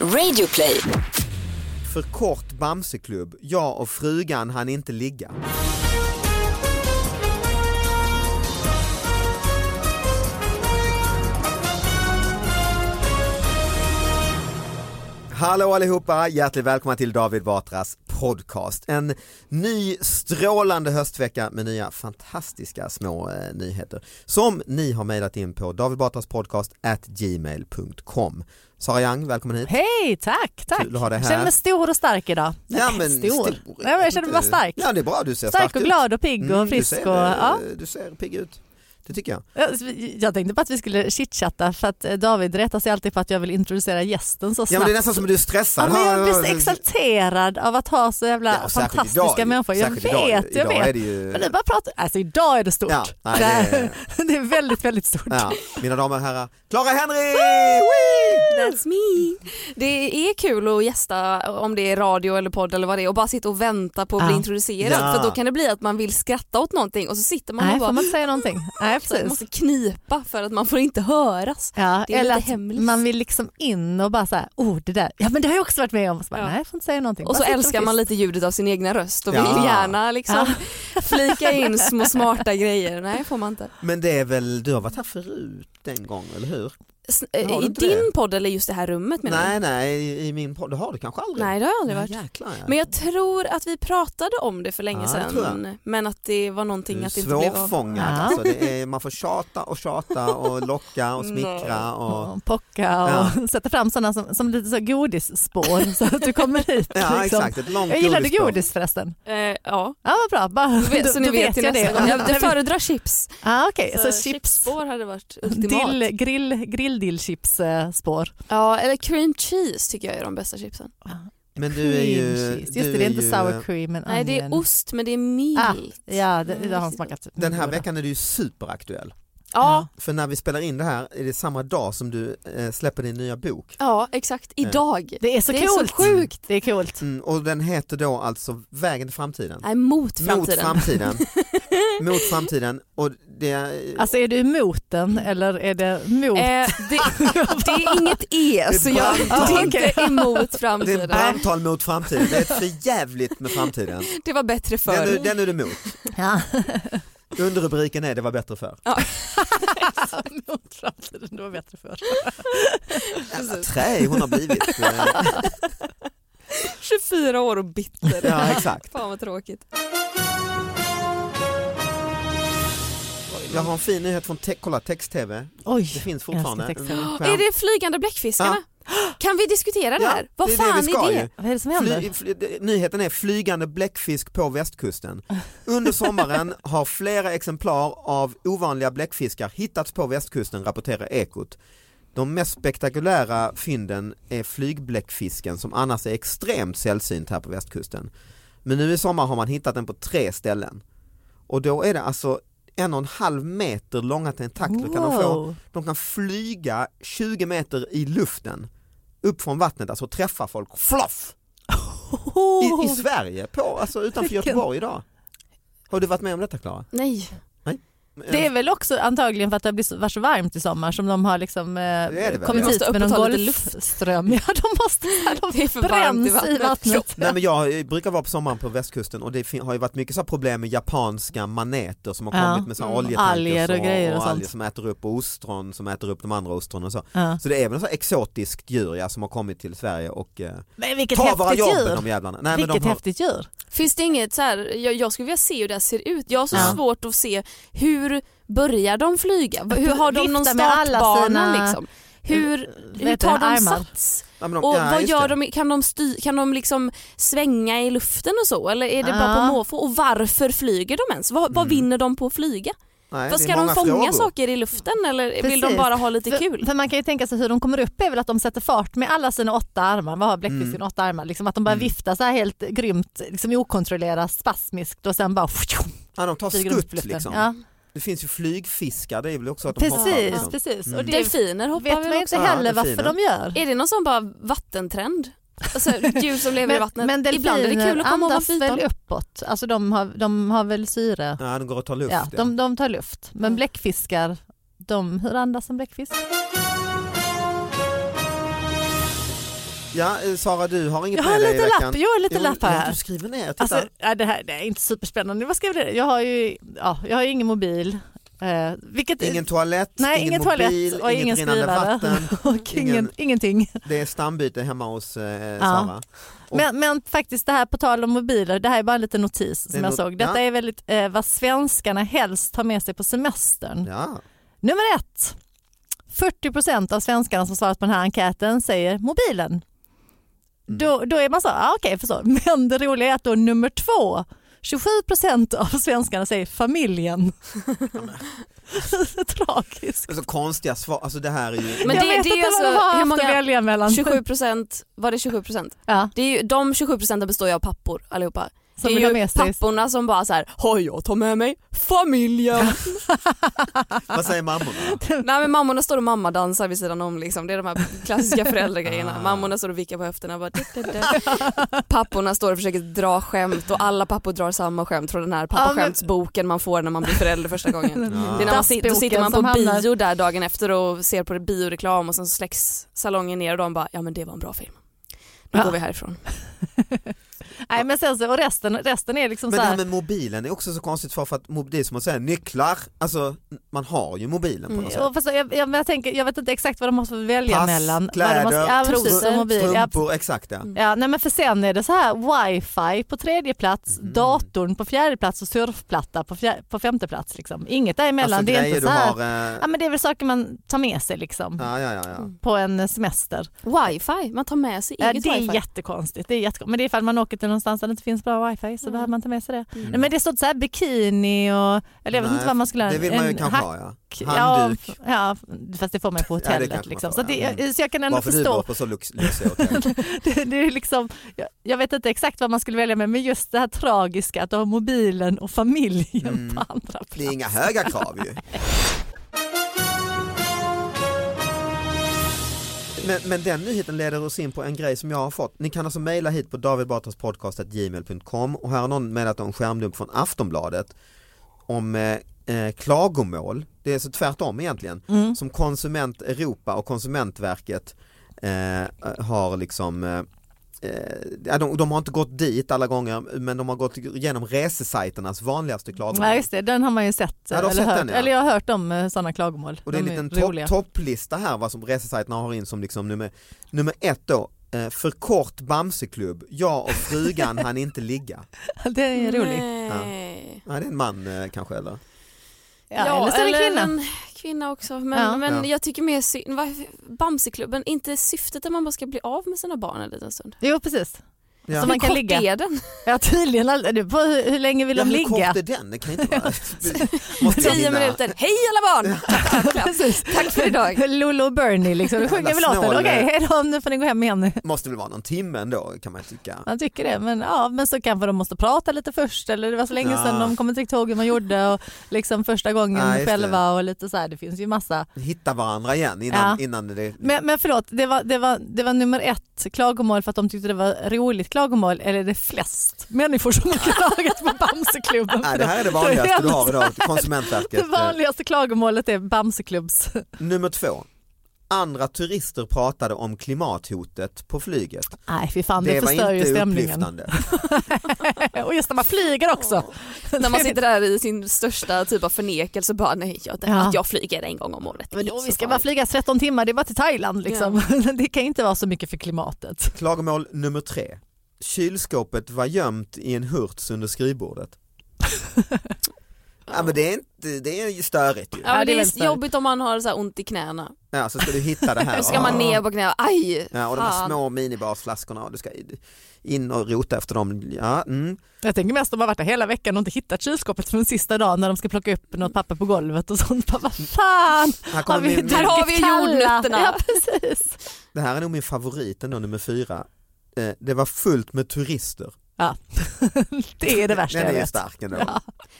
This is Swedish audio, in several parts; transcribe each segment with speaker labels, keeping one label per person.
Speaker 1: Radio play.
Speaker 2: För kort Bamseklubb, jag och frugan hann inte ligga. Hallå allihopa, hjärtligt välkomna till David Batras podcast. En ny strålande höstvecka med nya fantastiska små eh, nyheter som ni har mejlat in på davidbatraspodcast at gmail.com. Sara Young, välkommen hit.
Speaker 3: Hej, tack, tack.
Speaker 2: Kul att ha dig här.
Speaker 3: Känner mig stor och stark idag.
Speaker 2: Ja, men
Speaker 3: stor.
Speaker 2: stor.
Speaker 3: Nej, men jag känner mig bara stark.
Speaker 2: Ja det är bra, du ser
Speaker 3: Stark
Speaker 2: stark
Speaker 3: och
Speaker 2: ut.
Speaker 3: glad och pigg och frisk.
Speaker 2: du, ser,
Speaker 3: och,
Speaker 2: eh,
Speaker 3: ja.
Speaker 2: du ser pigg ut, det tycker jag.
Speaker 3: Jag- Jag tänkte bara att vi skulle chitchatta för att eh, David rättar sig alltid för att jag vill introducera gästen så snabbt.
Speaker 2: Ja men det är nästan som att du är stressad.
Speaker 3: Ja, men jag blir så
Speaker 2: Ja,
Speaker 3: exalterad av att ha så jävla
Speaker 2: och särskilt
Speaker 3: fantastiska
Speaker 2: idag,
Speaker 3: människor. Jag vet,
Speaker 2: särskilt idag.
Speaker 3: jag
Speaker 2: Idag
Speaker 3: vet.
Speaker 2: Är det ju...
Speaker 3: Men det är bara prata. Alltså idag är det stort.
Speaker 2: Ja, nej,
Speaker 3: det,
Speaker 2: det
Speaker 3: är...
Speaker 2: är-
Speaker 3: det är väldigt, väldigt stort.
Speaker 2: ja. Mina damer och herrar, Clara Henry!
Speaker 4: That's me. Det är kul att gästa om det är radio eller podd eller vad det är och bara sitta och vänta på att bli
Speaker 3: Ja.
Speaker 4: introducerad
Speaker 2: Ja.
Speaker 4: för då kan det bli att man vill skratta åt någonting och så sitter man
Speaker 3: Nej,
Speaker 4: och
Speaker 3: får
Speaker 4: bara
Speaker 3: man inte säga någonting? Nej,
Speaker 4: så man
Speaker 3: precis.
Speaker 4: måste knipa för att man får inte höras.
Speaker 3: Ja,
Speaker 4: Det är
Speaker 3: eller
Speaker 4: lite
Speaker 3: att
Speaker 4: hemlis.
Speaker 3: man vill liksom in och bara så här, oh det där, ja men det har jag också varit med om. Så bara,
Speaker 4: Ja.
Speaker 3: Nej, jag får inte säga någonting.
Speaker 4: Och så
Speaker 3: Bara sitta
Speaker 4: älskar man
Speaker 3: tyst.
Speaker 4: lite ljudet av sin egna röst och vill
Speaker 2: Ja.
Speaker 4: gärna liksom flika in små smarta grejer. Nej får man inte.
Speaker 2: Men det är väl, du har varit här förut en gång eller hur?
Speaker 4: S- eh,
Speaker 2: Har du
Speaker 4: I
Speaker 2: inte det?
Speaker 4: din podd eller just det här rummet menar
Speaker 2: Nej
Speaker 4: du?
Speaker 2: nej, i- i min podd, det har du kanske aldrig?
Speaker 4: Nej det har jag aldrig varit.
Speaker 2: Ja, jäklar, ja.
Speaker 4: Men jag tror att vi pratade om det för länge
Speaker 2: Ja, det tror jag.
Speaker 4: sedan men att det var någonting
Speaker 2: Du är
Speaker 4: att det inte blev av.
Speaker 2: svårfångad,
Speaker 3: Ja.
Speaker 2: alltså, det är, man får tjata och tjata och locka och smickra och
Speaker 3: Och pocka och sätta fram sådana som, som lite så godisspår så att du kommer hit.
Speaker 2: Ja
Speaker 3: liksom.
Speaker 2: exakt, ett långt
Speaker 3: Jag gillade
Speaker 2: godisspår.
Speaker 3: godis förresten.
Speaker 4: Eh, ja.
Speaker 3: Ja vad bra, Bara,
Speaker 4: Vet-
Speaker 3: då,
Speaker 4: så ni
Speaker 3: då
Speaker 4: vet,
Speaker 3: vet
Speaker 4: till
Speaker 3: jag
Speaker 4: nästa
Speaker 3: det.
Speaker 4: gång. Jag, jag föredrar chips.
Speaker 3: ah, Okej, så chips,
Speaker 4: Chipsspår hade varit ultimat.
Speaker 3: dill, grill, grill dill chips eh, spår.
Speaker 4: Ja, eller cream cheese tycker jag är de bästa chipsen.
Speaker 2: Men du är ju...
Speaker 3: Cream cheese. Just
Speaker 2: du
Speaker 3: det, det är inte
Speaker 2: ju,
Speaker 3: sour cream Ah, men
Speaker 4: Nej, det är
Speaker 3: onion.
Speaker 4: ost men det är milt. Mm.
Speaker 3: Ah, ja, det, det har han smakat.
Speaker 2: Den här veckan är du ju superaktuell.
Speaker 4: Ja,
Speaker 2: För när vi spelar in det här är det samma dag som du eh, släpper din nya bok.
Speaker 4: ja, exakt. Idag.
Speaker 3: Det är så
Speaker 4: Det är så
Speaker 3: coolt.
Speaker 4: sjukt.
Speaker 3: Det är coolt.
Speaker 2: Mm, och den heter då alltså Vägen till framtiden.
Speaker 4: Nej, mot
Speaker 2: Mot
Speaker 4: framtiden.
Speaker 2: framtiden. Mot framtiden. Och det,
Speaker 3: Alltså är du emot den eller är det mot?
Speaker 4: Eh, det, det är inget E,
Speaker 2: är
Speaker 4: så jag
Speaker 2: brandtal.
Speaker 4: det är inte emot
Speaker 2: det är
Speaker 4: framtiden.
Speaker 2: ett brandtal mot framtiden. Det är ett förjävligt med framtiden.
Speaker 4: Det var bättre förr.
Speaker 2: Den, är- den är du emot.
Speaker 3: Ja.
Speaker 2: Underrubriken är Det var bättre förr.
Speaker 3: mot framtiden, det var bättre för.
Speaker 2: Jävla trä hon har blivit. Eh,
Speaker 4: 24 år och bitter.
Speaker 2: Ja exakt.
Speaker 4: Fan vad tråkigt.
Speaker 2: Jag har en fin nyhet från Te- kolla, text-tv.
Speaker 3: Oj,
Speaker 2: Det finns fortfarande.
Speaker 3: älskar text-tv.
Speaker 2: en skärm.
Speaker 4: Är det flygande bläckfiskarna? Kan vi diskutera det
Speaker 2: Ja,
Speaker 4: här? Vad
Speaker 2: det är det vi
Speaker 4: fan
Speaker 2: ska
Speaker 4: är
Speaker 2: ju.
Speaker 4: det?
Speaker 3: vad är det som händer?
Speaker 2: Fly, fly, det- nyheten är flygande bläckfisk på västkusten. Under sommaren har flera exemplar av ovanliga bläckfiskar hittats på västkusten, rapporterar Ekot. De mest spektakulära fynden är flygbläckfisken som annars är extremt sällsynt här på västkusten. Men nu i sommar har man hittat den på tre ställen. Och då är det alltså en och en halv meter långa tentakler kan de få.
Speaker 3: Wow.
Speaker 2: De kan flyga 20 meter i luften upp från vattnet, alltså träffa folk, floff! I, I Sverige, på, alltså utanför
Speaker 3: Vilken-
Speaker 2: Göteborg idag. Har du varit med om detta Klara?
Speaker 4: Nej.
Speaker 3: Det är väl också antagligen för att det har blivit så- varit så varmt i sommar som de har liksom, eh,
Speaker 2: det väl,
Speaker 3: kommit
Speaker 2: ja.
Speaker 4: Måste
Speaker 3: hit med någon
Speaker 4: upprätthålla lite
Speaker 3: golfström. Ja, de måste,
Speaker 4: Det är
Speaker 3: de
Speaker 4: för varmt
Speaker 3: bränns
Speaker 4: i
Speaker 3: i
Speaker 4: vattnet.
Speaker 3: vattnet.
Speaker 2: Nej men jag eh, brukar vara på sommaren på västkusten och det fin- har ju varit mycket så här problem med japanska maneter som har
Speaker 3: Ja.
Speaker 2: kommit med såna
Speaker 3: Mm.
Speaker 2: oljetankers
Speaker 3: Alger och grejer och
Speaker 2: och
Speaker 3: sånt.
Speaker 2: alger som äter upp och ostron som äter upp de andra ostronen och så.
Speaker 3: Ja.
Speaker 2: Så det är väl något så här exotiskt djur ja, som har kommit till Sverige och eh,
Speaker 3: Men vilket
Speaker 2: tar våra
Speaker 3: häftigt
Speaker 2: jobb
Speaker 3: djur.
Speaker 2: de jävlarna. Nej, men
Speaker 3: vilket
Speaker 2: de har,
Speaker 3: häftigt djur.
Speaker 4: Finns det inget så här, jag, jag skulle vilja se hur det här ser ut. Jag har så
Speaker 3: Ja.
Speaker 4: svårt att se hur börjar de flyga? Hur har de
Speaker 3: Vifta
Speaker 4: någon
Speaker 3: med alla
Speaker 4: startbana
Speaker 3: sina- eh,
Speaker 4: liksom? Hur,
Speaker 3: Vet
Speaker 4: hur
Speaker 3: du,
Speaker 4: tar de
Speaker 3: armar.
Speaker 4: sats?
Speaker 2: Ja, men de,
Speaker 4: Och
Speaker 2: ja,
Speaker 4: vad
Speaker 2: just
Speaker 4: gör
Speaker 2: det.
Speaker 4: de? Kan de, sty, kan de liksom svänga i luften och så? Eller är det bara på
Speaker 3: Ja.
Speaker 4: måfå? Och varför flyger de ens? Vad, vad vinner de på att flyga?
Speaker 2: Mm. Nej,
Speaker 4: Vad
Speaker 2: det är
Speaker 4: ska de
Speaker 2: många
Speaker 4: fånga
Speaker 2: frågor.
Speaker 4: saker i luften eller vill de
Speaker 3: Precis.
Speaker 4: bara ha lite
Speaker 3: för,
Speaker 4: kul?
Speaker 3: För man kan ju tänka sig hur de kommer upp är väl att de sätter fart med alla sina åtta armar. Vad har bläckfisken åtta armar? Liksom att de bara viftar så här helt grymt, liksom okontrollerat, spasmiskt och sen bara
Speaker 2: Ja, de tar
Speaker 3: flyger de upp i
Speaker 2: skutt
Speaker 3: luften.
Speaker 2: liksom.
Speaker 3: Ja.
Speaker 2: Det finns ju flygfiskar, det är väl också att de hoppar.
Speaker 3: Precis,
Speaker 2: Liksom.
Speaker 3: precis. Och det
Speaker 4: Delfiner hoppar
Speaker 3: vet man
Speaker 4: väl
Speaker 3: ju
Speaker 4: också?
Speaker 3: inte
Speaker 2: Ja,
Speaker 3: heller varför
Speaker 2: delfiner.
Speaker 3: de gör.
Speaker 4: Är det någon sån bara vattentrend? Alltså djur som lever i vattnet.
Speaker 3: men
Speaker 4: Ibland är det kul
Speaker 3: delfiner
Speaker 4: att komma
Speaker 3: andas
Speaker 4: ovanför ytan.
Speaker 3: väl uppåt? Alltså de har, de har väl syre?
Speaker 2: Ja, de går och tar luft.
Speaker 3: Ja, de, de tar luft. Men
Speaker 4: Mm.
Speaker 3: bläckfiskar, de, hur andas en bläckfisk?
Speaker 2: ja eh, Sara du har inget
Speaker 3: Jag
Speaker 2: med
Speaker 3: har
Speaker 2: dig i
Speaker 3: lite
Speaker 2: veckan.
Speaker 3: lapp, jag har lite
Speaker 2: Jo,
Speaker 3: lapp här.
Speaker 2: ja, Du skriver ner, titta.
Speaker 3: Alltså, ja, det här det är inte superspännande. Vad ska jag göra? Jag har ju, ja, jag har ju ingen mobil. Eh, vilket,
Speaker 2: Ingen toalett,
Speaker 3: nej,
Speaker 2: ingen,
Speaker 3: ingen
Speaker 2: mobil,
Speaker 3: toalett och
Speaker 2: inget
Speaker 3: ingen
Speaker 2: rinnande
Speaker 3: skrivare.
Speaker 2: vatten.
Speaker 3: och ingen,
Speaker 2: ingen-
Speaker 3: ingenting.
Speaker 2: Det är stambyte hemma hos eh, Sara. Och-
Speaker 3: Men, men faktiskt det här på tal om mobiler, det här är bara en liten notis
Speaker 2: Det är
Speaker 3: som jag
Speaker 2: not-
Speaker 3: såg. Detta
Speaker 2: ja.
Speaker 3: är väldigt eh, vad svenskarna helst tar med sig på semestern.
Speaker 2: Ja.
Speaker 3: Nummer ett. 40 procent av svenskarna som svarat på den här enkäten säger mobilen.
Speaker 2: Mm.
Speaker 3: Då, då är man så, ah, okej förstår. Men det roliga är att då nummer två, 27 procent av svenskarna säger familjen. Tragiskt.
Speaker 2: Alltså, konstiga svar, alltså det här är ju...
Speaker 4: Men
Speaker 3: jag
Speaker 4: det-
Speaker 3: vet
Speaker 4: det är
Speaker 3: inte
Speaker 4: alltså-
Speaker 3: vad de har
Speaker 4: hur
Speaker 3: haft
Speaker 4: många-
Speaker 3: att välja mellan.
Speaker 4: 27 procent, var det 27 procent?
Speaker 3: Ja,
Speaker 4: Det är ju, de 27 procenten består ju av pappor allihopa.
Speaker 3: som
Speaker 4: det
Speaker 3: vill ha
Speaker 4: är ju
Speaker 3: med sig.
Speaker 4: papporna som bara så här, har jag tar med mig familjen.
Speaker 2: Vad säger mammorna?
Speaker 4: Nej men mammorna står och mammadansar vid sidan om liksom. Det är de här klassiska
Speaker 3: Ah.
Speaker 4: föräldragrejerna. Mammorna står och vickar på höfterna. Bara, dit, dit, dit. Papporna står och försöker dra skämt och alla pappor drar samma skämt från den här pappaskämtsboken man får när man blir förälder första gången. Det är när man sitter, då sitter man på
Speaker 3: Som hamnar-
Speaker 4: bio där dagen efter och ser på det bioreklam och sen så släcks salongen ner och de bara ja men det var en bra film. Nu
Speaker 3: Ja.
Speaker 4: går vi härifrån.
Speaker 3: Nej, men sen så, och resten, resten är liksom
Speaker 2: Men det
Speaker 3: så
Speaker 2: här
Speaker 3: här,
Speaker 2: med mobilen är också så konstigt för, för att mo- det är som att säga nycklar, alltså man har ju mobilen på något sätt.
Speaker 3: Och fast jag, jag, men jag, tänker, jag vet inte exakt vad de måste välja
Speaker 2: Pass,
Speaker 3: mellan.
Speaker 2: kläder,
Speaker 3: vad de måste, ja, men precis,
Speaker 4: trosor,
Speaker 3: och mobil. Ja,
Speaker 2: Strumpor, exakt ja.
Speaker 3: Ja, nej men för sen är det så här wifi på tredje plats,
Speaker 2: Mm.
Speaker 3: datorn på fjärde plats och surfplatta på, fjär, på femte plats. Liksom. Inget däremellan.
Speaker 2: Alltså
Speaker 3: det är
Speaker 2: grejer
Speaker 3: inte
Speaker 2: du
Speaker 3: så här.
Speaker 2: har... eh,
Speaker 3: Ja, men det är väl saker man tar med sig liksom,
Speaker 2: Ja, ja, ja. ja.
Speaker 3: på en semester.
Speaker 4: Wifi, man tar med sig
Speaker 3: Ja,
Speaker 4: eget
Speaker 3: det är
Speaker 4: wifi.
Speaker 3: jättekonstigt. Det är jättekonstigt. Men det är ifall man åker till någonstans där det inte finns bra wifi
Speaker 4: Mm.
Speaker 3: så behöver man ta med sig det. Nej, men det står inte så här bikini och, eller jag vet
Speaker 2: Mm. Nej,
Speaker 3: inte vad man skulle ha.
Speaker 2: Det vill man ju
Speaker 3: en
Speaker 2: kanske
Speaker 3: hack-
Speaker 2: ha ja. Handduk.
Speaker 3: Ja, ja, fast det får man på
Speaker 2: det
Speaker 3: hotellet.
Speaker 2: kanske man
Speaker 3: liksom.
Speaker 2: får,
Speaker 3: så, att det,
Speaker 2: ja.
Speaker 3: så jag kan ändå
Speaker 2: Varför du
Speaker 3: förstå.
Speaker 2: bor på så lux- lyxiga hotell.
Speaker 3: det, det är liksom, jag, jag vet inte exakt vad man skulle välja med, men just det här tragiska att ha mobilen och familjen på andra
Speaker 2: Mm. Det är
Speaker 3: plats.
Speaker 2: inga höga krav ju. Men, men den nyheten leder oss in på en grej som jag har fått. Ni kan alltså mejla hit på davidbatraspodcast.gmail.com och här har någon mejlat om skärmdump från Aftonbladet om eh, eh, klagomål, det är så tvärtom egentligen, som Konsument Europa och Konsumentverket eh, har liksom eh, eh, ja, de, de har inte gått dit alla gånger men de har gått igenom resesajternas vanligaste klagomål.
Speaker 3: Nej just det, den har man ju sett.
Speaker 2: Ja, du har
Speaker 3: eller,
Speaker 2: sett
Speaker 3: hört,
Speaker 2: den, ja.
Speaker 3: eller jag har hört om sådana klagomål.
Speaker 2: Och det är en
Speaker 3: De
Speaker 2: liten
Speaker 3: ju
Speaker 2: topp- topplista här vad som resesajterna har in som liksom nummer, nummer ett då. Eh, för kort Bamseklubb, jag och frugan han inte ligga.
Speaker 3: Det är ju roligt.
Speaker 4: Mm, Nej.
Speaker 2: Nej, det är en man eh, kanske eller?
Speaker 3: Ja, eller så är det en kvinna.
Speaker 4: en kvinna också. Men,
Speaker 3: Ja.
Speaker 4: men
Speaker 2: Ja.
Speaker 4: jag tycker mer synd, varför- Bamseklubben, inte syftet att man bara ska bli av med sina barn en liten stund. Alltså,
Speaker 3: Jo precis.
Speaker 2: Ja.
Speaker 3: Som man kan ligga.
Speaker 4: är den?
Speaker 3: Ja, tydligen. all- det- på Hur, hur länge vill
Speaker 2: ja,
Speaker 3: de
Speaker 2: hur
Speaker 3: ligga?
Speaker 2: kort är den? Det kan inte vara... Måste jag
Speaker 4: Tio
Speaker 2: hinna-
Speaker 4: minuter. Hej alla barn! Tack, tack, tack.
Speaker 3: Precis.
Speaker 4: tack för idag.
Speaker 3: Lolo och Bernie liksom. Då sjunger vi låten.
Speaker 2: snål.
Speaker 3: Okej, hej då, nu får ni gå hem igen.
Speaker 2: Måste väl vara någon timme ändå kan man tycka.
Speaker 3: Man tycker det, men, ja, men så kanske de måste prata lite först eller det var så länge
Speaker 2: Ja.
Speaker 3: sedan de kommer inte riktigt ihåg hur man gjorde och liksom första gången
Speaker 2: Ja, just det.
Speaker 3: själva och lite så här, det finns ju massa.
Speaker 2: Hitta varandra igen innan,
Speaker 3: Ja.
Speaker 2: innan det...
Speaker 3: Men, men förlåt, det var, det, var, det var nummer ett klagomål för att de tyckte det var roligt klagomål eller är det flest människor som har klagat på Bamseklubben?
Speaker 2: Nej, det här är det vanligaste du har idag,
Speaker 3: Det
Speaker 2: Konsumentverket. eh,
Speaker 3: vanligaste klagomålet är Bamseklubbs.
Speaker 2: Nummer två. Andra turister pratade om klimathotet på flyget.
Speaker 3: Nej fy fan, det,
Speaker 2: det
Speaker 3: förstör
Speaker 2: var
Speaker 3: ju
Speaker 2: inte
Speaker 3: stämningen.
Speaker 2: upplyftande.
Speaker 3: Och just när man flyger också.
Speaker 4: När man sitter där i sin största typ av förnekelse bara nej, jag,
Speaker 3: Ja.
Speaker 4: att jag flyger en gång om året. Det är
Speaker 3: Vadå,
Speaker 4: inte
Speaker 3: vi
Speaker 4: så
Speaker 3: ska bara
Speaker 4: farligt.
Speaker 3: flyga 13 timmar, det är bara till Thailand liksom. Det kan inte vara så mycket för klimatet.
Speaker 2: Klagomål nummer tre. Kylskåpet var gömt i en hurts under skrivbordet. ja men det är, inte, det är ju störigt ju.
Speaker 4: Ja,
Speaker 3: Ja,
Speaker 4: men
Speaker 3: det är
Speaker 4: det
Speaker 3: väldigt
Speaker 4: är
Speaker 3: störigt.
Speaker 4: jobbigt om man har så här ont i knäna.
Speaker 2: Ja, så ska du hitta det här.
Speaker 4: Då ska man ner på knä och aj!
Speaker 2: Ja, och de här
Speaker 4: fan.
Speaker 2: små minibarsflaskorna och du ska in och rota efter dem. Ja, mm.
Speaker 3: Jag tänker mest att de har varit där hela veckan och inte hittat kylskåpet från sista dagen när de ska plocka upp något papper på golvet och sånt. Bara, vad fan!
Speaker 2: Här kommer min,
Speaker 3: druckit
Speaker 4: Här har vi ju
Speaker 3: kalla?
Speaker 4: jordnötterna.
Speaker 3: Ja, precis.
Speaker 2: det här är nog min favorit ändå, nummer fyra. Eh, Det var fullt med turister.
Speaker 3: Ja. Det är det värsta
Speaker 2: Den
Speaker 3: jag
Speaker 2: är ju
Speaker 3: vet.
Speaker 2: stark ändå.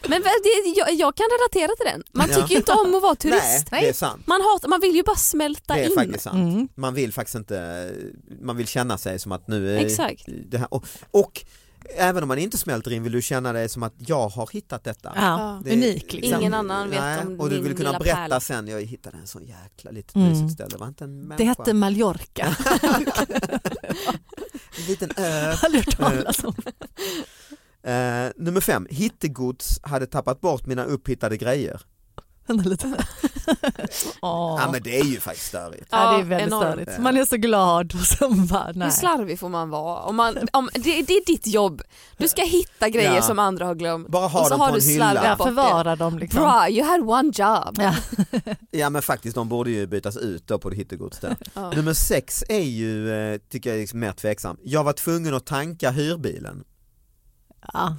Speaker 4: Men väl, det, jag, jag kan relatera till den. Man
Speaker 2: Ja.
Speaker 4: tycker ju inte om att vara
Speaker 2: Nej,
Speaker 4: turist.
Speaker 2: det är sant.
Speaker 4: Man, hatar, man vill ju bara smälta
Speaker 2: Det är
Speaker 4: in.
Speaker 2: faktiskt sant.
Speaker 3: Mm.
Speaker 2: Man vill faktiskt inte, man vill känna sig som att nu är
Speaker 4: Exakt.
Speaker 2: det här. Och, och även om man inte smälter in vill du känna dig som att jag har hittat detta.
Speaker 3: Ja,
Speaker 2: Det-
Speaker 3: unik liksom.
Speaker 4: Ingen annan vet
Speaker 2: Nej,
Speaker 4: om
Speaker 2: Och du
Speaker 4: min
Speaker 2: vill kunna
Speaker 4: lilla
Speaker 2: berätta
Speaker 4: pärla.
Speaker 2: sen, jag hittade en sån jäkla litet
Speaker 3: Mm.
Speaker 2: mysigt ställe, det var inte en
Speaker 3: Det
Speaker 2: människa.
Speaker 3: hette Mallorca.
Speaker 2: En liten ö.
Speaker 3: Har du hört talas om?
Speaker 2: Eh, nummer fem, hittegods hade tappat bort mina upphittade grejer.
Speaker 3: Den är lite... Åh.
Speaker 2: Ja men det är ju faktiskt störigt.
Speaker 3: Ja, det är
Speaker 4: Ja,
Speaker 3: väldigt
Speaker 4: enormt.
Speaker 3: störigt. Man är så glad och sen bara nej.
Speaker 4: Hur slarvig får man vara? Om man, om, det, det är ditt jobb. Du ska hitta grejer
Speaker 2: Ja.
Speaker 4: som andra har glömt.
Speaker 2: Bara ha
Speaker 4: och så
Speaker 2: dem
Speaker 4: har
Speaker 2: på
Speaker 4: du
Speaker 2: en hylla.
Speaker 4: slarvat
Speaker 3: Ja,
Speaker 4: bort det.
Speaker 3: förvara dem liksom.
Speaker 4: Bra, you had one job.
Speaker 3: Ja.
Speaker 2: Ja men faktiskt de borde ju bytas ut då på det hittegods där.
Speaker 4: Ja.
Speaker 2: Nummer sex är ju, eh, tycker jag är liksom mer tveksam. Jag var tvungen att tanka hyrbilen.
Speaker 3: Ja.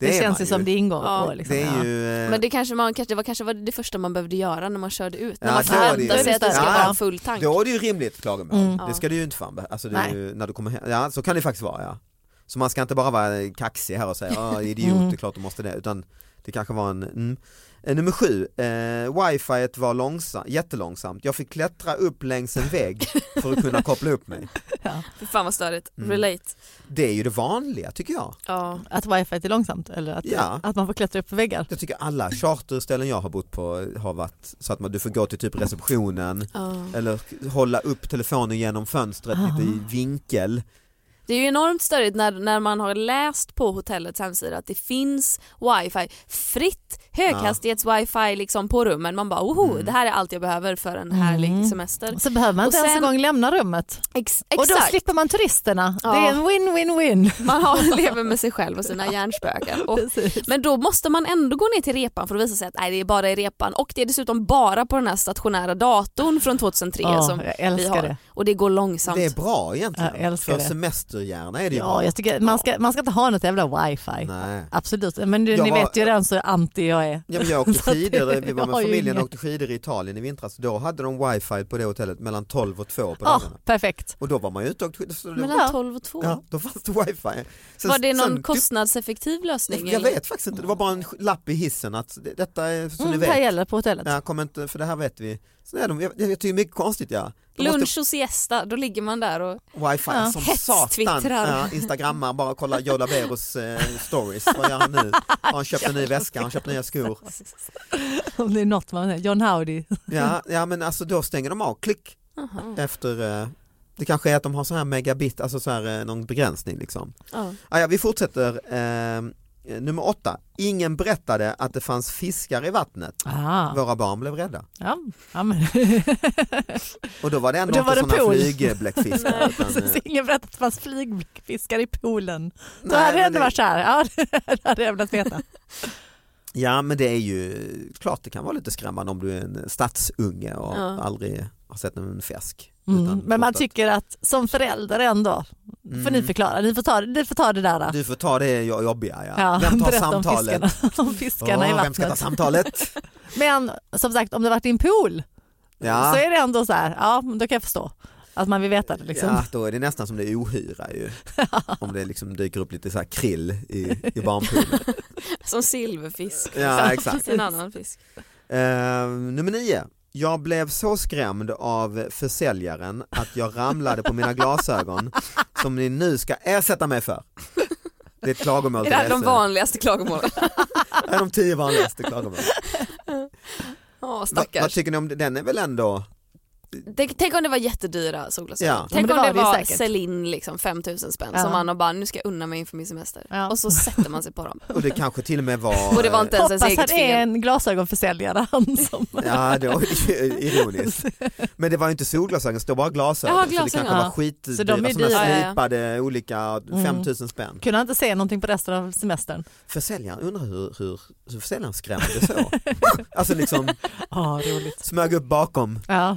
Speaker 3: Det,
Speaker 2: Det, är
Speaker 3: känns
Speaker 2: man
Speaker 3: ju som det ingår
Speaker 4: Ja,
Speaker 3: på. Liksom.
Speaker 2: Det är
Speaker 3: Ja.
Speaker 2: ju, eh,
Speaker 4: Men det kanske, man, kanske, det var kanske var det första man behövde göra när man körde ut. När
Speaker 2: Ja,
Speaker 4: man
Speaker 2: då är det ju-
Speaker 4: förväntar sig att det ska
Speaker 2: Ja.
Speaker 4: vara en full tank.
Speaker 2: Då är det ju rimligt klagomål.
Speaker 3: Mm.
Speaker 2: Det ska du ju inte fan behöva. Alltså det är
Speaker 3: Nej.
Speaker 2: ju, när du kommer hem. Ja, så kan det faktiskt vara ja. Så man ska inte bara vara eh, kaxig här och säga ah, idiot,
Speaker 3: Mm.
Speaker 2: det är klart du måste det. Utan det kanske var en, mm. Eh, Nummer sju, eh, wifiet var långsamt, jättelångsamt. Jag fick klättra upp längs en vägg för att kunna koppla upp mig.
Speaker 4: Fy fan vad störigt.
Speaker 2: Mm.
Speaker 4: Relate.
Speaker 2: Det är ju det vanliga tycker jag.
Speaker 4: Ja.
Speaker 3: Att wifi är långsamt eller att,
Speaker 2: Ja.
Speaker 3: att man får klättra upp för väggar.
Speaker 2: Jag tycker alla charterställen jag har bott på har varit så att man, du får gå till typ receptionen eller hålla upp telefonen genom fönstret lite i vinkel.
Speaker 4: Det är ju enormt störigt när, när man har läst på hotellets hemsida att det finns wifi, fritt höghastighets-wifi liksom på rummen. Man bara oho,
Speaker 3: Mm.
Speaker 4: det här är allt jag behöver för en härlig semester.
Speaker 3: Så behöver man
Speaker 4: Och
Speaker 3: inte ens en
Speaker 4: sen-
Speaker 3: gång lämna rummet.
Speaker 4: Ex-
Speaker 3: Mm. Och då
Speaker 4: exakt,
Speaker 3: slipper man turisterna.
Speaker 4: Ja.
Speaker 3: Det är en win-win-win.
Speaker 4: man har, lever med sig själv och sina hjärnspöken. Och, men då måste man ändå gå ner till repan för att visa sig att nej, det är bara i repan och det är dessutom bara på den här stationära datorn från 2003
Speaker 3: Ja,
Speaker 4: som
Speaker 3: jag älskar
Speaker 4: vi har.
Speaker 3: det.
Speaker 4: Och det går långsamt.
Speaker 2: Det är bra egentligen.
Speaker 3: Jag älskar
Speaker 2: För
Speaker 3: det.
Speaker 2: semesterhjärna är det ju
Speaker 3: Ja,
Speaker 2: bra.
Speaker 3: jag tycker man ska, man ska inte ha något jävla wifi.
Speaker 2: Nej.
Speaker 3: Absolut, men du,
Speaker 2: Jag
Speaker 3: ni
Speaker 2: var-
Speaker 3: vet ju redan så anti jag är.
Speaker 2: Ja, men jag åkte
Speaker 3: Så att det-
Speaker 2: skidor, vi var
Speaker 3: jag
Speaker 2: med
Speaker 3: har ju
Speaker 2: familjen och
Speaker 3: inget.
Speaker 2: åkte skidor i Italien i vintras. Då hade de wifi på det hotellet mellan 12 och 2 på
Speaker 3: Ah,
Speaker 2: dagarna.
Speaker 3: perfekt.
Speaker 2: Och då var man ju ute och åkte skidor. så det-
Speaker 4: Mellan 12 och 2.
Speaker 2: Ja, då fanns det wifi. Sen,
Speaker 4: Var det någon
Speaker 2: sen-
Speaker 4: kostnadseffektiv lösning?
Speaker 2: Jag
Speaker 4: eller?
Speaker 2: vet faktiskt inte, det var bara en sk- lapp i hissen att det- detta är som
Speaker 3: Mm, det
Speaker 2: ni
Speaker 3: här
Speaker 2: vet.
Speaker 3: gäller på hotellet.
Speaker 2: Ja, kom inte, för det här vet vi. Så är de, jag, jag tycker det är mycket konstigt ja. De måste-
Speaker 4: Lunch och siesta, då ligger man där och
Speaker 2: Wifi
Speaker 3: Ja.
Speaker 2: som satan.
Speaker 4: Hetstwittrar.
Speaker 2: Ja, Instagrammar, bara kolla Joe Laberos eh, stories. Vad gör han nu? Har han köpt en ny väska? Har han köpt nya skor?
Speaker 3: Om det är något man John Howdy.
Speaker 2: Ja, ja men alltså då stänger de av, klick.
Speaker 3: Mm.
Speaker 2: Efter, eh, det kanske är att de har så här megabit, alltså så här eh, någon begränsning liksom.
Speaker 4: ja.
Speaker 2: Ah, ja, vi fortsätter. Eh, nummer åtta, ingen berättade att det fanns fiskar i vattnet.
Speaker 3: Ah,
Speaker 2: Våra barn blev rädda.
Speaker 3: ja, ja, men.
Speaker 2: Och då var det
Speaker 3: Och
Speaker 2: ändå
Speaker 3: då var det
Speaker 2: inte sådana
Speaker 3: pool.
Speaker 2: flygbläckfiskar. utan, eh,
Speaker 3: Precis, ingen berättade att det fanns flygfiskar i poolen. Då
Speaker 2: Nej,
Speaker 3: hade
Speaker 2: men
Speaker 3: jag ändå
Speaker 2: det-
Speaker 3: varit så här, ja, det hade jag velat veta.
Speaker 2: Ja men det är ju klart det kan vara lite skrämmande om du är en stadsunge och
Speaker 4: Ja.
Speaker 2: aldrig har sett en fisk.
Speaker 3: Mm.
Speaker 2: Utan
Speaker 3: Men man
Speaker 2: trott att-
Speaker 3: tycker att som förälder ändå, får ni förklara, ni får ta, ni får ta det där. Då.
Speaker 2: Du får ta det jo- jobbiga. Ja. vem tar
Speaker 3: berätta
Speaker 2: samtalet?
Speaker 3: Om fiskarna, om fiskarna i
Speaker 2: Åh,
Speaker 3: vattnet.
Speaker 2: vem ska ta samtalet?
Speaker 3: Men som sagt, om det varit i en pool
Speaker 2: Ja.
Speaker 3: så är det ändå så här, ja då kan jag förstå att man vill veta det. Liksom.
Speaker 2: Ja, då är det nästan som det är ohyra ju. Om det liksom dyker upp lite så här krill i, i barnpoolen.
Speaker 4: Som silverfisk.
Speaker 2: Ja, exakt.
Speaker 4: En annan fisk.
Speaker 2: Eh, nummer nio. Jag blev så skrämd av försäljaren att jag ramlade på mina glasögon som ni nu ska ersätta mig för. Det är ett klagomål
Speaker 4: Är det här
Speaker 2: till
Speaker 4: de
Speaker 2: SL.
Speaker 4: vanligaste klagomålen?
Speaker 2: Det är de tio vanligaste klagomålen.
Speaker 4: Ja,
Speaker 2: Va, vad
Speaker 4: stackars.
Speaker 2: tycker ni om det? Den är väl ändå,
Speaker 4: Tänk- Tänk om det var jättedyra solglasögon.
Speaker 2: Ja.
Speaker 4: Tänk
Speaker 3: Ja, men
Speaker 4: om
Speaker 3: det var
Speaker 4: det
Speaker 3: det
Speaker 4: var
Speaker 3: säkert.
Speaker 4: Celine liksom 5000 spänn
Speaker 3: Ja.
Speaker 4: som man har bara nu ska jag unna mig inför min semester.
Speaker 3: Ja.
Speaker 4: Och så sätter man sig på dem.
Speaker 2: och det kanske till och med var...
Speaker 4: Och det var inte ens ens
Speaker 3: Hoppas han
Speaker 4: eget
Speaker 3: är
Speaker 4: fel.
Speaker 3: en glasögonförsäljare han som...
Speaker 2: Ja, det var ju ironiskt. Men det var ju inte solglasögon, det var bara glasögon.
Speaker 4: Jaha,
Speaker 2: Så det
Speaker 4: glasögon.
Speaker 2: kanske var
Speaker 3: Ja.
Speaker 2: skitdyra
Speaker 3: Så de är
Speaker 2: sådana
Speaker 3: dyra.
Speaker 4: Ja, Mm. ja, ja.
Speaker 2: slipade olika, 5000 spänn.
Speaker 3: Kunde han inte se någonting på resten av semestern?
Speaker 2: Försäljaren undrar hur, hur, hur försäljaren skrämde så. alltså liksom
Speaker 3: Ja, roligt.
Speaker 2: smög upp bakom.
Speaker 3: Ja.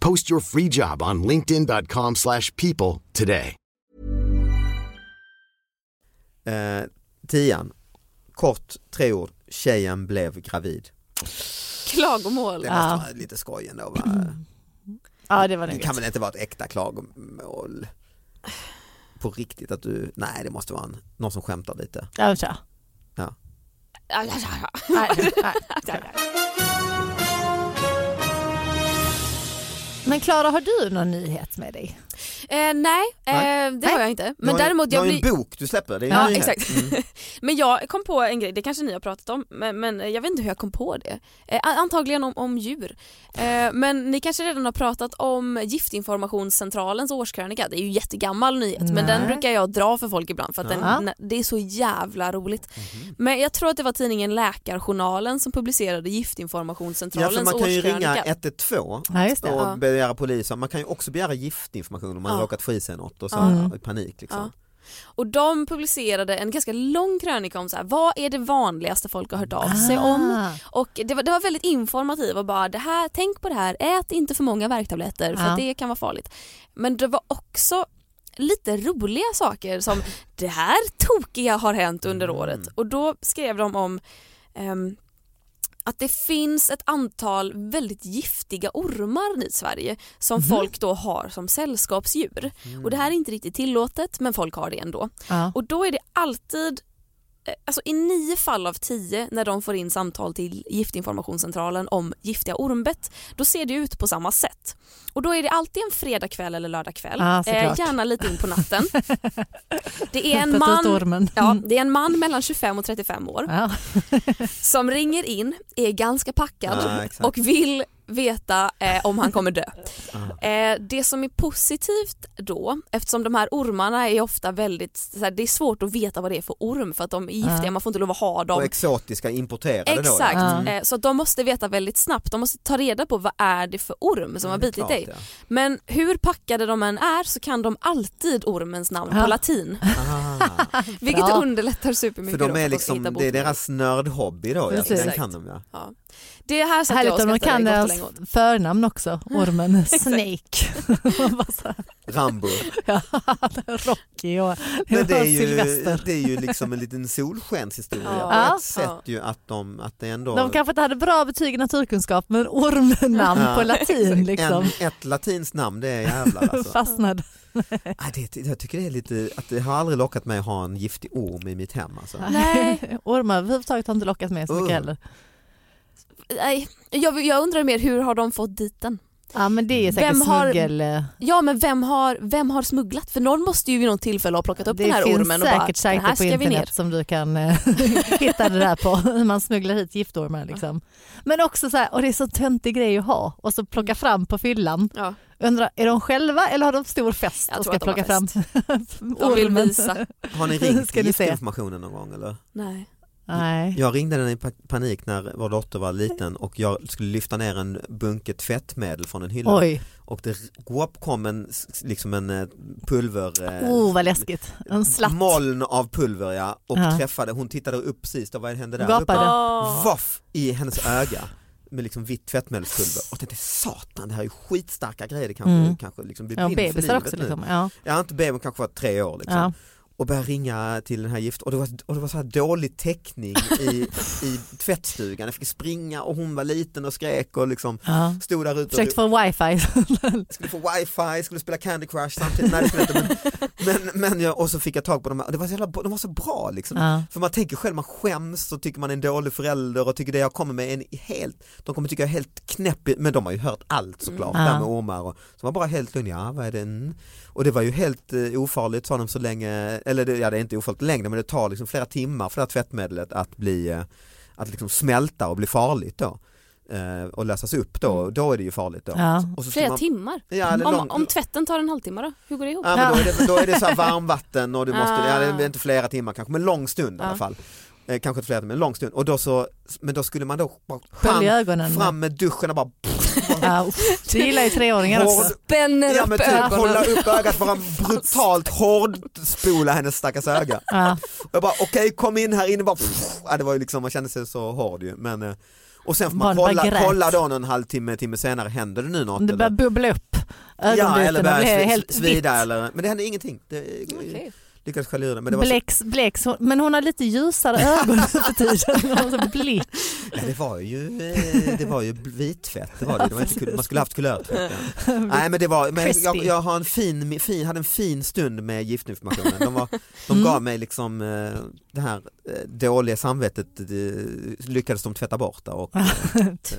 Speaker 5: Post your free job on linkedin.com/people slash people today.
Speaker 2: Eh, tian, kort tre ord, tjejen blev gravid.
Speaker 4: Klagomål.
Speaker 2: Det
Speaker 3: Ja.
Speaker 2: måste vara lite skoj ändå
Speaker 4: Mm,
Speaker 2: va?
Speaker 3: ja, Ah, det var
Speaker 2: Det
Speaker 3: nog
Speaker 2: kan
Speaker 3: gött.
Speaker 2: väl inte vara ett äkta klagomål? På riktigt att du, nej det måste vara en, någon som skämtar lite.
Speaker 3: Ja, men tja.
Speaker 2: Ja.
Speaker 3: Nej, nej, nej. Men Klara, har du någon nyhet med dig?
Speaker 4: Eh, nej, eh, det har jag inte.
Speaker 2: Du
Speaker 4: Men
Speaker 2: har ju-
Speaker 4: däremot
Speaker 2: du har
Speaker 4: jag
Speaker 2: ju
Speaker 4: blir...
Speaker 2: en bok du släpper, det är
Speaker 4: Ja
Speaker 2: ju-
Speaker 4: exakt.
Speaker 2: Mm.
Speaker 4: men jag kom på en grej, det kanske ni har pratat om, men, men jag vet inte hur jag kom på det. Eh, an- antagligen om, om djur. Eh, men ni kanske redan har pratat om Giftinformationscentralens årskrönika, det är ju jättegammal nyhet men den
Speaker 3: Nej.
Speaker 4: brukar jag dra för folk ibland för att
Speaker 3: Ja.
Speaker 4: den, det är så jävla roligt.
Speaker 2: Mhm.
Speaker 4: Men jag tror att det var tidningen Läkarjournalen som publicerade
Speaker 2: Ja,
Speaker 4: Giftinformationscentralens
Speaker 2: för man kan ju ringa
Speaker 4: årskrönika.
Speaker 2: 112
Speaker 3: Ja, just det.
Speaker 2: och
Speaker 4: Ja.
Speaker 2: begära polisen. Man kan ju också begära giftinformation om man
Speaker 4: Ja.
Speaker 2: råkat få i sig något och så i panik. Liksom.
Speaker 4: Och de publicerade en ganska lång krönika om så här, vad är det vanligaste folk har hört av
Speaker 3: Ah.
Speaker 4: sig
Speaker 2: Ah.
Speaker 4: om. Och det var, det var väldigt informativt och bara det här, tänk på det här, ät inte för många värktabletter för
Speaker 3: Ja.
Speaker 4: att det kan vara farligt. Men det var också lite roliga saker som det här tokiga har hänt under året och då skrev de om ehm, att det finns ett antal väldigt giftiga ormar i Sverige som folk då har som sällskapsdjur. Och det här är inte riktigt tillåtet men folk har det ändå.
Speaker 3: Ja.
Speaker 4: Och då är det alltid, eh, alltså i nio fall av tio när de får in samtal till Giftinformationscentralen om giftiga ormbett, då ser det ut på samma sätt. Och då är det alltid en fredagkväll eller lördagkväll, Eh,
Speaker 3: Ja, såklart.
Speaker 4: gärna lite in på natten. Det är en
Speaker 3: Hämtat ut
Speaker 4: man
Speaker 3: ormen. Mm.
Speaker 4: Ja, det är en man mellan 25 och 35 år
Speaker 3: Ja.
Speaker 4: som ringer in, är ganska packad
Speaker 2: Ja, exakt.
Speaker 4: och vill veta eh, om han kommer dö. Eh, det som är positivt då, eftersom de här ormarna är ofta väldigt, så här, det är svårt att veta vad det är för orm för att de är giftiga, man får inte lov att ha
Speaker 2: Och
Speaker 4: dem.
Speaker 2: exotiska importerade då.
Speaker 4: Exakt,
Speaker 2: liksom.
Speaker 4: eh, så att de måste veta väldigt snabbt, de måste ta reda på vad är det för orm som har bitit
Speaker 2: klart,
Speaker 4: dig.
Speaker 2: ja.
Speaker 4: Men hur packade de än är så kan de alltid ormens namn
Speaker 3: Ja.
Speaker 4: på latin. Vilket
Speaker 3: Bra.
Speaker 4: underlättar supermycket
Speaker 2: För
Speaker 4: då
Speaker 2: de
Speaker 4: att
Speaker 2: är
Speaker 4: hitta
Speaker 2: liksom,
Speaker 4: botemedel.
Speaker 2: det är deras nördhobby då, ja.
Speaker 3: Precis.
Speaker 2: den kan de ja.
Speaker 4: Ja. Det här satt jag
Speaker 3: Härligt
Speaker 4: och
Speaker 3: om de kan
Speaker 4: skrattade gott och
Speaker 3: deras
Speaker 4: länge åt.
Speaker 3: förnamn också, ormen Snake. Bara så här,
Speaker 2: Rambo.
Speaker 3: ja, Rocky och
Speaker 2: Men det är, ju,
Speaker 3: Sylvester.
Speaker 2: det är ju liksom en liten solskenshistoria
Speaker 4: Ja.
Speaker 2: på
Speaker 3: Ja.
Speaker 2: ett sätt ju att de, att det ändå
Speaker 3: De kanske inte hade bra betyg i naturkunskap men ormnamn
Speaker 2: Ja.
Speaker 3: på latin liksom.
Speaker 2: en, ett latinskt namn det är jävlar alltså.
Speaker 3: Fastnade.
Speaker 2: Nej, det, jag tycker det är lite, att det har aldrig lockat mig att ha en giftig orm i mitt hem alltså.
Speaker 3: Nej. Ormar överhuvudtaget har inte lockat mig så mycket
Speaker 2: Uh.
Speaker 3: heller.
Speaker 4: Nej, jag, jag undrar mer hur har de fått dit den?
Speaker 3: Ja men det är säkert
Speaker 4: Vem har-
Speaker 3: smuggel... eh,
Speaker 4: Ja men vem har, vem har smugglat? För någon måste ju vid något tillfälle ha plockat upp
Speaker 3: det
Speaker 4: den här
Speaker 3: finns
Speaker 4: ormen och bara
Speaker 3: säkert
Speaker 4: den här
Speaker 3: sajter på
Speaker 4: ska vi ner.
Speaker 3: internet som du kan eh, hitta det där på. Hur man smugglar hit giftormar liksom. Men också så här, och det är så töntig grej att ha och så
Speaker 4: Mm.
Speaker 3: plocka fram på fyllan.
Speaker 4: Ja,
Speaker 3: Undrar, är de själva eller har de stor fest
Speaker 4: Jag
Speaker 3: och
Speaker 4: tror
Speaker 3: ska
Speaker 4: att de har
Speaker 3: plocka fram
Speaker 4: de vill
Speaker 3: ormen?
Speaker 4: visa.
Speaker 2: Har ni ringt
Speaker 3: Ska ni se?
Speaker 2: giftinformationen någon gång eller?
Speaker 4: Nej.
Speaker 3: Nej.
Speaker 2: Jag ringde den i pa- panik när vår dotter var liten och jag skulle lyfta ner en bunke tvättmedel från en hylla
Speaker 3: Oj,
Speaker 2: och det guap, kom en, s- liksom en eh, pulver eh,
Speaker 3: oh vad läskigt. En slatt.
Speaker 2: moln av pulver ja, och
Speaker 3: Ja.
Speaker 2: träffade, hon tittade upp precis, då, vad hände där?
Speaker 3: Gapade.
Speaker 2: Uppe.
Speaker 4: Åh.
Speaker 2: Vaff i hennes öga med liksom vitt tvättmedelspulver och tänkte satan det här är skitstarka grejer, det kanske,
Speaker 3: Mm.
Speaker 2: kanske liksom blir
Speaker 3: Ja,
Speaker 2: blind för
Speaker 3: bebisar
Speaker 2: livet
Speaker 3: också
Speaker 2: nu.
Speaker 3: liksom. Ja.
Speaker 2: Ja inte baby, hon kanske var tre år liksom.
Speaker 3: Ja.
Speaker 2: och började ringa till den här gift och det var, och det var så här dålig täckning i, i tvättstugan. Jag fick springa och hon var liten och skrek och liksom
Speaker 3: Ja.
Speaker 2: stod där ute och
Speaker 3: Försökt få wifi.
Speaker 2: skulle få wifi, skulle spela Candy Crush samtidigt. Nej, det skulle jag inte, men, men, men jag, och så fick jag tag på de här, det var så jävla, de var så bra liksom.
Speaker 3: Ja.
Speaker 2: För man tänker själv, man skäms och tycker man är en dålig förälder och tycker det jag kommer med är en helt, de kommer tycka jag är helt knäpp, i- men de har ju hört allt såklart,
Speaker 3: Mm.
Speaker 2: det här
Speaker 3: Ja.
Speaker 2: med ormar och så var bara helt lugn, ja vad är det, Mm. och det var ju helt eh, ofarligt sa de så länge, eller det, ja det är inte ofarligt längre men det tar liksom flera timmar för det här tvättmedlet att bli, eh, att liksom smälta och bli farligt då eh, och läsas upp då, då är det ju farligt då.
Speaker 3: Mm. Ja.
Speaker 2: Och så skulle
Speaker 4: Flera
Speaker 2: man-
Speaker 4: timmar?
Speaker 2: Ja, eller
Speaker 4: om,
Speaker 2: lång-
Speaker 4: om tvätten tar en halvtimme då? Hur går det ihop?
Speaker 2: Ja, men då, är det, då är det så här varmvatten och du måste,
Speaker 4: Ah.
Speaker 2: ja, det är inte flera timmar kanske, men lång stund i
Speaker 4: Ja.
Speaker 2: alla fall. Eh, kanske inte flera timmar, men lång stund. Och då så, men då skulle man då bara
Speaker 3: Skölj
Speaker 2: fram,
Speaker 3: ögonen.
Speaker 2: fram med duschen och bara
Speaker 3: Ja, uff. det gillar ju treåringar också.
Speaker 2: hård,
Speaker 4: Spänner
Speaker 2: ja,
Speaker 4: upp
Speaker 2: men typ,
Speaker 4: ögonen.
Speaker 2: hålla upp ögat, bara brutalt hårdspola hennes stackars öga.
Speaker 3: Ja.
Speaker 2: Jag bara okej kom in här inne bara, pff, ja, det var ju liksom, man kände sig så hård ju. Men, eh, och sen får
Speaker 3: Barn
Speaker 2: man
Speaker 3: bara
Speaker 2: kolla,
Speaker 3: grät.
Speaker 2: kolla då en halvtimme, timme senare, händer det nu något?
Speaker 3: Det börjar
Speaker 2: eller?
Speaker 3: bubbla upp.
Speaker 2: Ja eller
Speaker 3: Ögonbrytena blir
Speaker 2: börjar
Speaker 3: helt vitt.
Speaker 2: svida eller, men det hände ingenting. Det,
Speaker 4: Okej.
Speaker 2: Lyckades skölja ur det, men det var så
Speaker 3: Blex, blex, Hon- men hon har lite ljusare ögon nu för tiden. Hon har så blick.
Speaker 2: Ja, det var ju, eh, det var ju vittvätt, det var det. det var inte kul. Man skulle haft kulörtvätt. Ja. Nej, men det var, men jag,
Speaker 3: Crispy.
Speaker 2: jag har en fin, fin, hade en fin stund med giftinformationen. De, var, de
Speaker 3: Mm.
Speaker 2: gav mig liksom eh, det här eh, dåliga samvetet det, lyckades de tvätta bort. där Och, eh,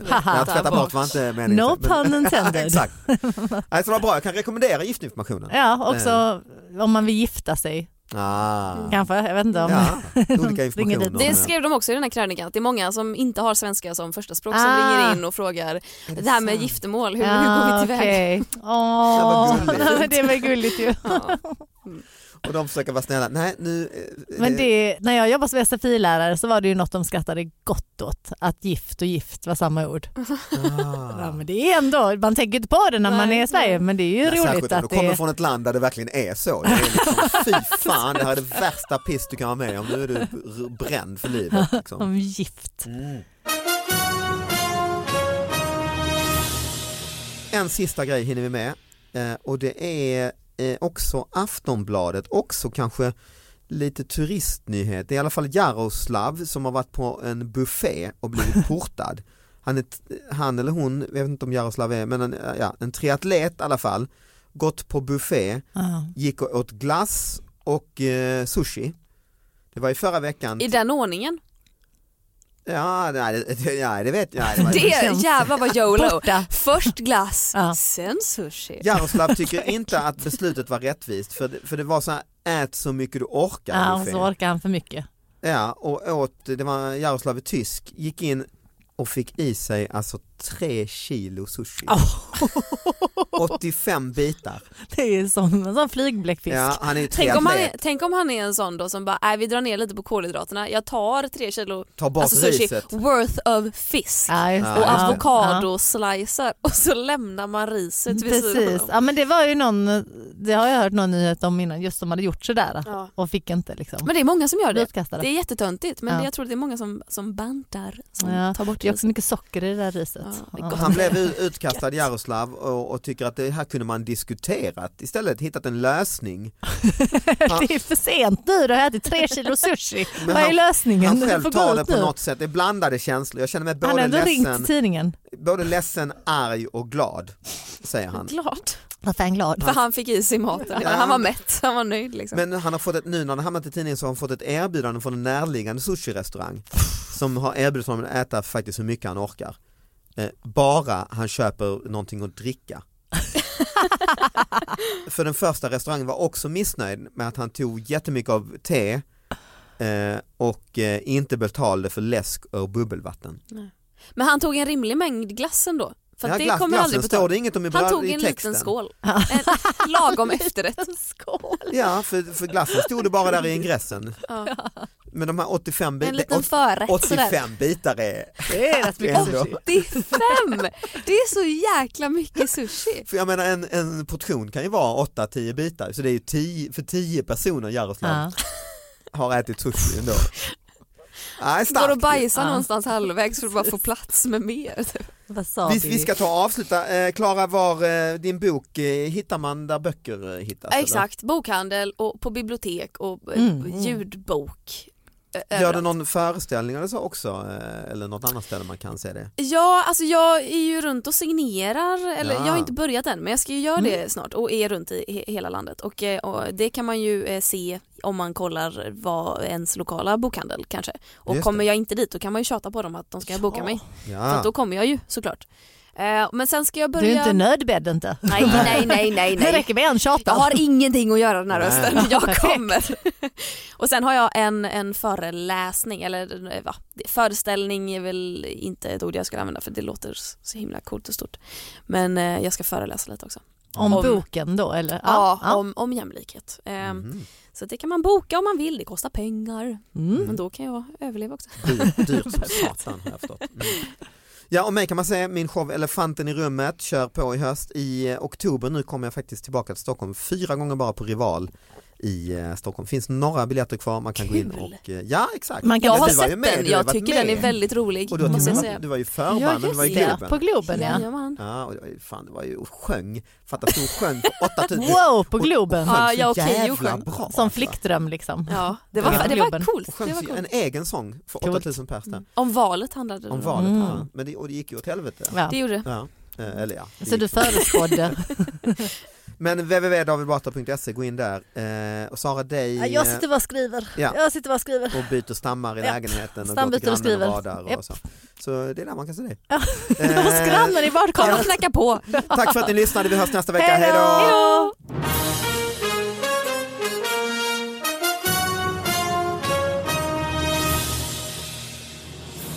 Speaker 2: ja, tvätta bort var inte meningen.
Speaker 3: No pun intended.
Speaker 2: Exakt. Nej, så det var bra, jag kan rekommendera giftinformationen.
Speaker 3: Ja, också om man vill gifta sig
Speaker 2: Ah.
Speaker 3: kanske. Jag vet inte om...
Speaker 2: Ja, olika
Speaker 3: Ringer dit.
Speaker 2: informationer.
Speaker 4: Det skrev de också i den här krönikan, att det är många som inte har svenska som första språk som
Speaker 3: Ah.
Speaker 4: ringer in och frågar
Speaker 2: Är
Speaker 4: det, här med
Speaker 2: sant?
Speaker 4: giftermål, hur, hur går
Speaker 3: Ah,
Speaker 4: vi tillväga?
Speaker 3: okej. Åh,
Speaker 2: Det var gulligt.
Speaker 3: det var gulligt ju.
Speaker 4: Ja.
Speaker 2: Och de försöker vara snälla. Nej, nu, eh,
Speaker 3: Men det, när jag jobbade som SFI-lärare så var det ju något de skrattade gott åt, att gift och gift var samma ord. Ja,
Speaker 2: Ah.
Speaker 3: men det är ändå, man tänker inte på det när man
Speaker 4: Nej,
Speaker 3: är i Sverige men det är ju
Speaker 2: Ja,
Speaker 3: roligt
Speaker 2: särskilt om
Speaker 3: att
Speaker 2: du
Speaker 3: det
Speaker 2: kommer
Speaker 3: är...
Speaker 2: från ett land där det verkligen är så. Det är liksom, fy fan, det här är det värsta piss du kan vara med om. Nu är du r- bränd för livet. Liksom.
Speaker 3: Om gift.
Speaker 2: En sista grej hinner vi med eh, och det är eh, också Aftonbladet, också kanske lite turistnyhet. Det är i alla fall Jaroslav som har varit på en buffé och blivit portad. Han, är t- han eller hon, jag vet inte om Jaroslav är, men en, ja, en triatlet i alla fall, gått på buffé
Speaker 3: Ja.
Speaker 2: gick och åt glass och eh, sushi. Det var i förra veckan.
Speaker 4: I den ordningen.
Speaker 2: Ja, nej, det, det- ja, det vet jag. Nej, det var-
Speaker 4: Det är jävlar vad YOLO.
Speaker 3: Borta.
Speaker 4: Först glass,
Speaker 3: Ja.
Speaker 4: sen sushi.
Speaker 2: Jaroslav tycker inte att beslutet var rättvist för, det- för det var så här ät så mycket du orkar.
Speaker 3: Ja, och
Speaker 2: buffé.
Speaker 3: så orkar han för mycket.
Speaker 2: ja, och åt, det var Jaroslav är tysk, gick in och fick i sig alltså tre kilo sushi. 85 bitar.
Speaker 3: Det är som en sån flygbläckfisk.
Speaker 2: Ja, han är ju
Speaker 4: Tänk om, han
Speaker 2: triatlet,
Speaker 4: är, tänk om han är en sån då som bara, nej vi drar ner lite på kolhydraterna, jag tar tre kilo
Speaker 2: tar bort
Speaker 4: alltså sushi
Speaker 2: riset.
Speaker 4: worth of fisk
Speaker 3: Ja, just det.
Speaker 4: och
Speaker 2: Ja.
Speaker 4: avokadoslicer och så lämnar man riset vid sidan
Speaker 3: Precis,
Speaker 4: om.
Speaker 3: ja, men det var ju någon, det har jag hört någon nyhet om innan, just som hade gjort sådär
Speaker 4: Ja.
Speaker 3: och fick inte liksom.
Speaker 4: Men det är många som gör det.
Speaker 3: Utkastade.
Speaker 4: Det är jättetöntigt men
Speaker 3: Ja.
Speaker 4: det- jag tror det är många som, som bantar, som
Speaker 3: Ja,
Speaker 4: tar bort
Speaker 3: Det är också
Speaker 4: det.
Speaker 3: mycket socker i det där riset.
Speaker 4: Ja, det är
Speaker 3: Ja.
Speaker 4: gott.
Speaker 2: Han blev u- utkastad Jaroslav och, och tycker att det här kunde man diskuterat istället, hittat en lösning.
Speaker 3: det är för sent nu, du har ätit tre kilo sushi.
Speaker 2: Men
Speaker 3: Vad är
Speaker 2: han-
Speaker 3: lösningen?
Speaker 2: Han
Speaker 3: Du
Speaker 2: själv
Speaker 3: får gå
Speaker 2: tar
Speaker 3: ut
Speaker 2: det på
Speaker 3: nu.
Speaker 2: något sätt, det är blandade känslor. Jag känner mig
Speaker 3: Han har
Speaker 2: både
Speaker 3: ändå ringt
Speaker 2: ledsen,
Speaker 3: till tidningen.
Speaker 2: både ledsen, arg och glad, säger han.
Speaker 4: Klart.
Speaker 3: Varför är han glad?
Speaker 4: För han fick i sig maten.
Speaker 2: Ja.
Speaker 4: Han var mätt, han var nöjd liksom.
Speaker 2: Men han har fått ett, nu när han hamnat i tidningen så har han fått ett erbjudande från en närliggande sushi-restaurang som har erbjudit honom att äta faktiskt hur mycket han orkar. Eh, bara han köper någonting att dricka. För den första restaurangen var också missnöjd med att han tog jättemycket av te eh, och eh, inte betalade för läsk och bubbelvatten.
Speaker 4: Men han tog en rimlig mängd glass ändå. För att
Speaker 2: Ja,
Speaker 4: det
Speaker 2: glass-
Speaker 4: kommer aldrig
Speaker 2: glassen
Speaker 4: på
Speaker 2: står
Speaker 4: tal.
Speaker 2: det inget om i,
Speaker 4: Han
Speaker 2: bra-
Speaker 4: tog
Speaker 2: i
Speaker 4: en
Speaker 2: texten.
Speaker 4: liten skål. En lagom efterrätt.
Speaker 3: skål.
Speaker 2: Ja, för, för glassen stod det bara där i ingressen.
Speaker 4: Ja.
Speaker 2: Men de här 85
Speaker 4: En
Speaker 2: bitarna,
Speaker 4: liten förrätt sådär.
Speaker 2: 85 bitar är
Speaker 3: Det är rätt mycket
Speaker 2: Ändå.
Speaker 3: sushi.
Speaker 4: 85! Det är så jäkla mycket sushi.
Speaker 2: För jag menar en, en portion kan ju vara 8-10 bitar så det är ju 10, för 10 personer Jaroslav
Speaker 3: Ja.
Speaker 2: har ätit sushi ändå. Nej,
Speaker 4: Går och
Speaker 2: starkt.
Speaker 4: bajsar
Speaker 3: Ja.
Speaker 4: någonstans halvvägs för att bara få plats med mer. typ.
Speaker 3: Wasabi.
Speaker 2: Vi, vi ska ta och avsluta. Eh, Klara, var eh, din bok eh, hittar man där böcker eh, hittas? eller?
Speaker 4: Exakt, bokhandel och på bibliotek och eh,
Speaker 3: Mm.
Speaker 4: ljudbok. eh,
Speaker 2: Gör
Speaker 4: överallt.
Speaker 2: du någon föreställning eller så också? eh, Eller något annat ställe man kan se det?
Speaker 4: Ja, alltså jag är ju runt och signerar, eller
Speaker 2: Ja. Mm.
Speaker 4: jag har inte börjat än men jag ska ju göra det snart och är runt i he- hela landet och, eh, och det kan man ju eh, se om man kollar vad ens lokala bokhandel kanske. Och
Speaker 2: Just
Speaker 4: kommer
Speaker 2: det.
Speaker 4: jag inte dit då kan man ju tjata på dem att de ska boka mig. För att då
Speaker 2: Ja.
Speaker 4: kommer jag ju såklart. Eh, Men sen ska jag
Speaker 3: Du är ju
Speaker 4: börja...
Speaker 3: inte nödbädd inte.
Speaker 4: nej, nej, nej, nej,
Speaker 3: Det
Speaker 4: nej.
Speaker 3: räcker med en tjata.
Speaker 4: Jag har ingenting att göra den här
Speaker 2: Nej.
Speaker 4: hösten. Jag kommer. Och sen har jag en, en föreläsning, eller eh, va, föreställning är väl inte ett ord jag skulle använda för det låter så himla coolt och stort. Men eh, jag ska föreläsa lite också.
Speaker 3: Om
Speaker 4: Om-
Speaker 3: boken då eller?
Speaker 4: Ja, Om, om jämlikhet. Eh,
Speaker 2: Mhm.
Speaker 4: Så det kan man boka om man vill, det kostar pengar. Men
Speaker 3: Mm.
Speaker 4: då kan jag överleva också.
Speaker 2: Dyrt, dyrt som satan har jag förstått. Mm. Ja, och mig kan man säga, min show Elefanten i rummet kör på i höst. I eh, oktober nu kommer jag faktiskt tillbaka till Stockholm fyra gånger bara på Rival i eh, Stockholm. finns några biljetter kvar, man kan gå in
Speaker 4: Kul.
Speaker 2: och... eh, Ja, exakt.
Speaker 3: Man kan-
Speaker 4: Jag
Speaker 2: Men
Speaker 4: har
Speaker 2: du var ju
Speaker 4: sett
Speaker 2: med, du har
Speaker 4: den,
Speaker 2: ju
Speaker 4: jag
Speaker 2: varit
Speaker 4: tycker den
Speaker 2: med.
Speaker 4: är väldigt rolig
Speaker 2: Och du, har
Speaker 4: måste jag
Speaker 2: till-
Speaker 4: säga.
Speaker 2: du var ju
Speaker 3: Ja,
Speaker 2: förband, du var i
Speaker 3: just det. På
Speaker 2: Globen.
Speaker 3: Globen ja.
Speaker 4: Jajamän.
Speaker 2: Ja, och det var ju, fan, det var ju och sjöng, fatta att hon sjöng på 8000.
Speaker 3: Wow, på Globen.
Speaker 4: Ja, jag och
Speaker 2: så
Speaker 4: Keyyo
Speaker 2: jävla
Speaker 4: sjöng.
Speaker 2: bra.
Speaker 3: Som
Speaker 2: alltså.
Speaker 3: flickdröm liksom.
Speaker 4: Ja, det var,
Speaker 3: Ja.
Speaker 4: det var
Speaker 3: Klubben.
Speaker 4: coolt.
Speaker 2: Sjöng
Speaker 4: Det var
Speaker 2: ju en
Speaker 4: coolt.
Speaker 2: egen sång för
Speaker 3: Coolt.
Speaker 2: 8000 pers där.
Speaker 4: Om valet handlade det
Speaker 2: Om
Speaker 4: väl
Speaker 2: valet,
Speaker 3: Mm.
Speaker 2: ja. Men det, och det gick ju åt helvete.
Speaker 3: Ja.
Speaker 4: Det gjorde det.
Speaker 2: Ja. Eh, Eller ja. det
Speaker 3: Mm. Så du
Speaker 2: gick
Speaker 3: förutspådde.
Speaker 2: Men www.davidbatra.se, gå in där. Eh, och Sara dig
Speaker 3: Ja, jag sitter bara och skriver.
Speaker 2: Ja.
Speaker 3: Jag sitter bara och skriver.
Speaker 2: eh, och byter stammar i
Speaker 3: Ja.
Speaker 2: lägenheten och går
Speaker 3: Stambyter
Speaker 2: till
Speaker 3: och
Speaker 2: grannen
Speaker 3: skriver.
Speaker 2: och radar
Speaker 3: Japp.
Speaker 2: och så. Så det är där man kan se det.
Speaker 3: Hos grannen i
Speaker 4: Kom och
Speaker 3: badkaret.
Speaker 4: knacka på.
Speaker 2: Tack för att ni lyssnade, vi hörs nästa vecka. Hej då!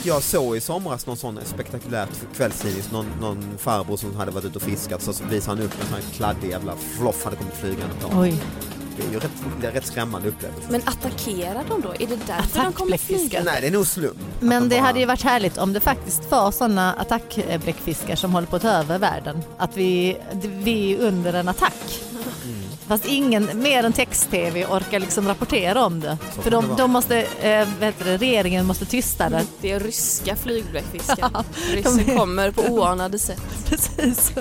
Speaker 2: Jag såg i somras någon sån spektakulär kvällstidning, så någon, någon farbror som hade varit ute och fiskat så visade han upp en sån här kladdig jävla floff hade kommit flygande. på.
Speaker 3: Oj,
Speaker 2: Det är ju rätt, det är rätt skrämmande upplevelse.
Speaker 4: Men attackerar de då? Är det därför de kommer
Speaker 3: Attackbläckfiskar.
Speaker 4: flyga?
Speaker 2: Nej, det är nog slump. att de
Speaker 3: men det
Speaker 2: bara-
Speaker 3: hade ju varit härligt om det faktiskt var sådana attackbläckfiskar som håller på att ta över världen. Att vi, vi är under en attack.
Speaker 2: Mm.
Speaker 3: Fast ingen mer än text-tv orkar liksom rapportera om det. För
Speaker 2: kan det
Speaker 3: de,
Speaker 2: vara.
Speaker 3: de måste, eh, vad heter det, regeringen måste tysta det.
Speaker 4: Det är ryska flygbläckfiskar. Ryssen kommer på oanade sätt.
Speaker 3: Precis.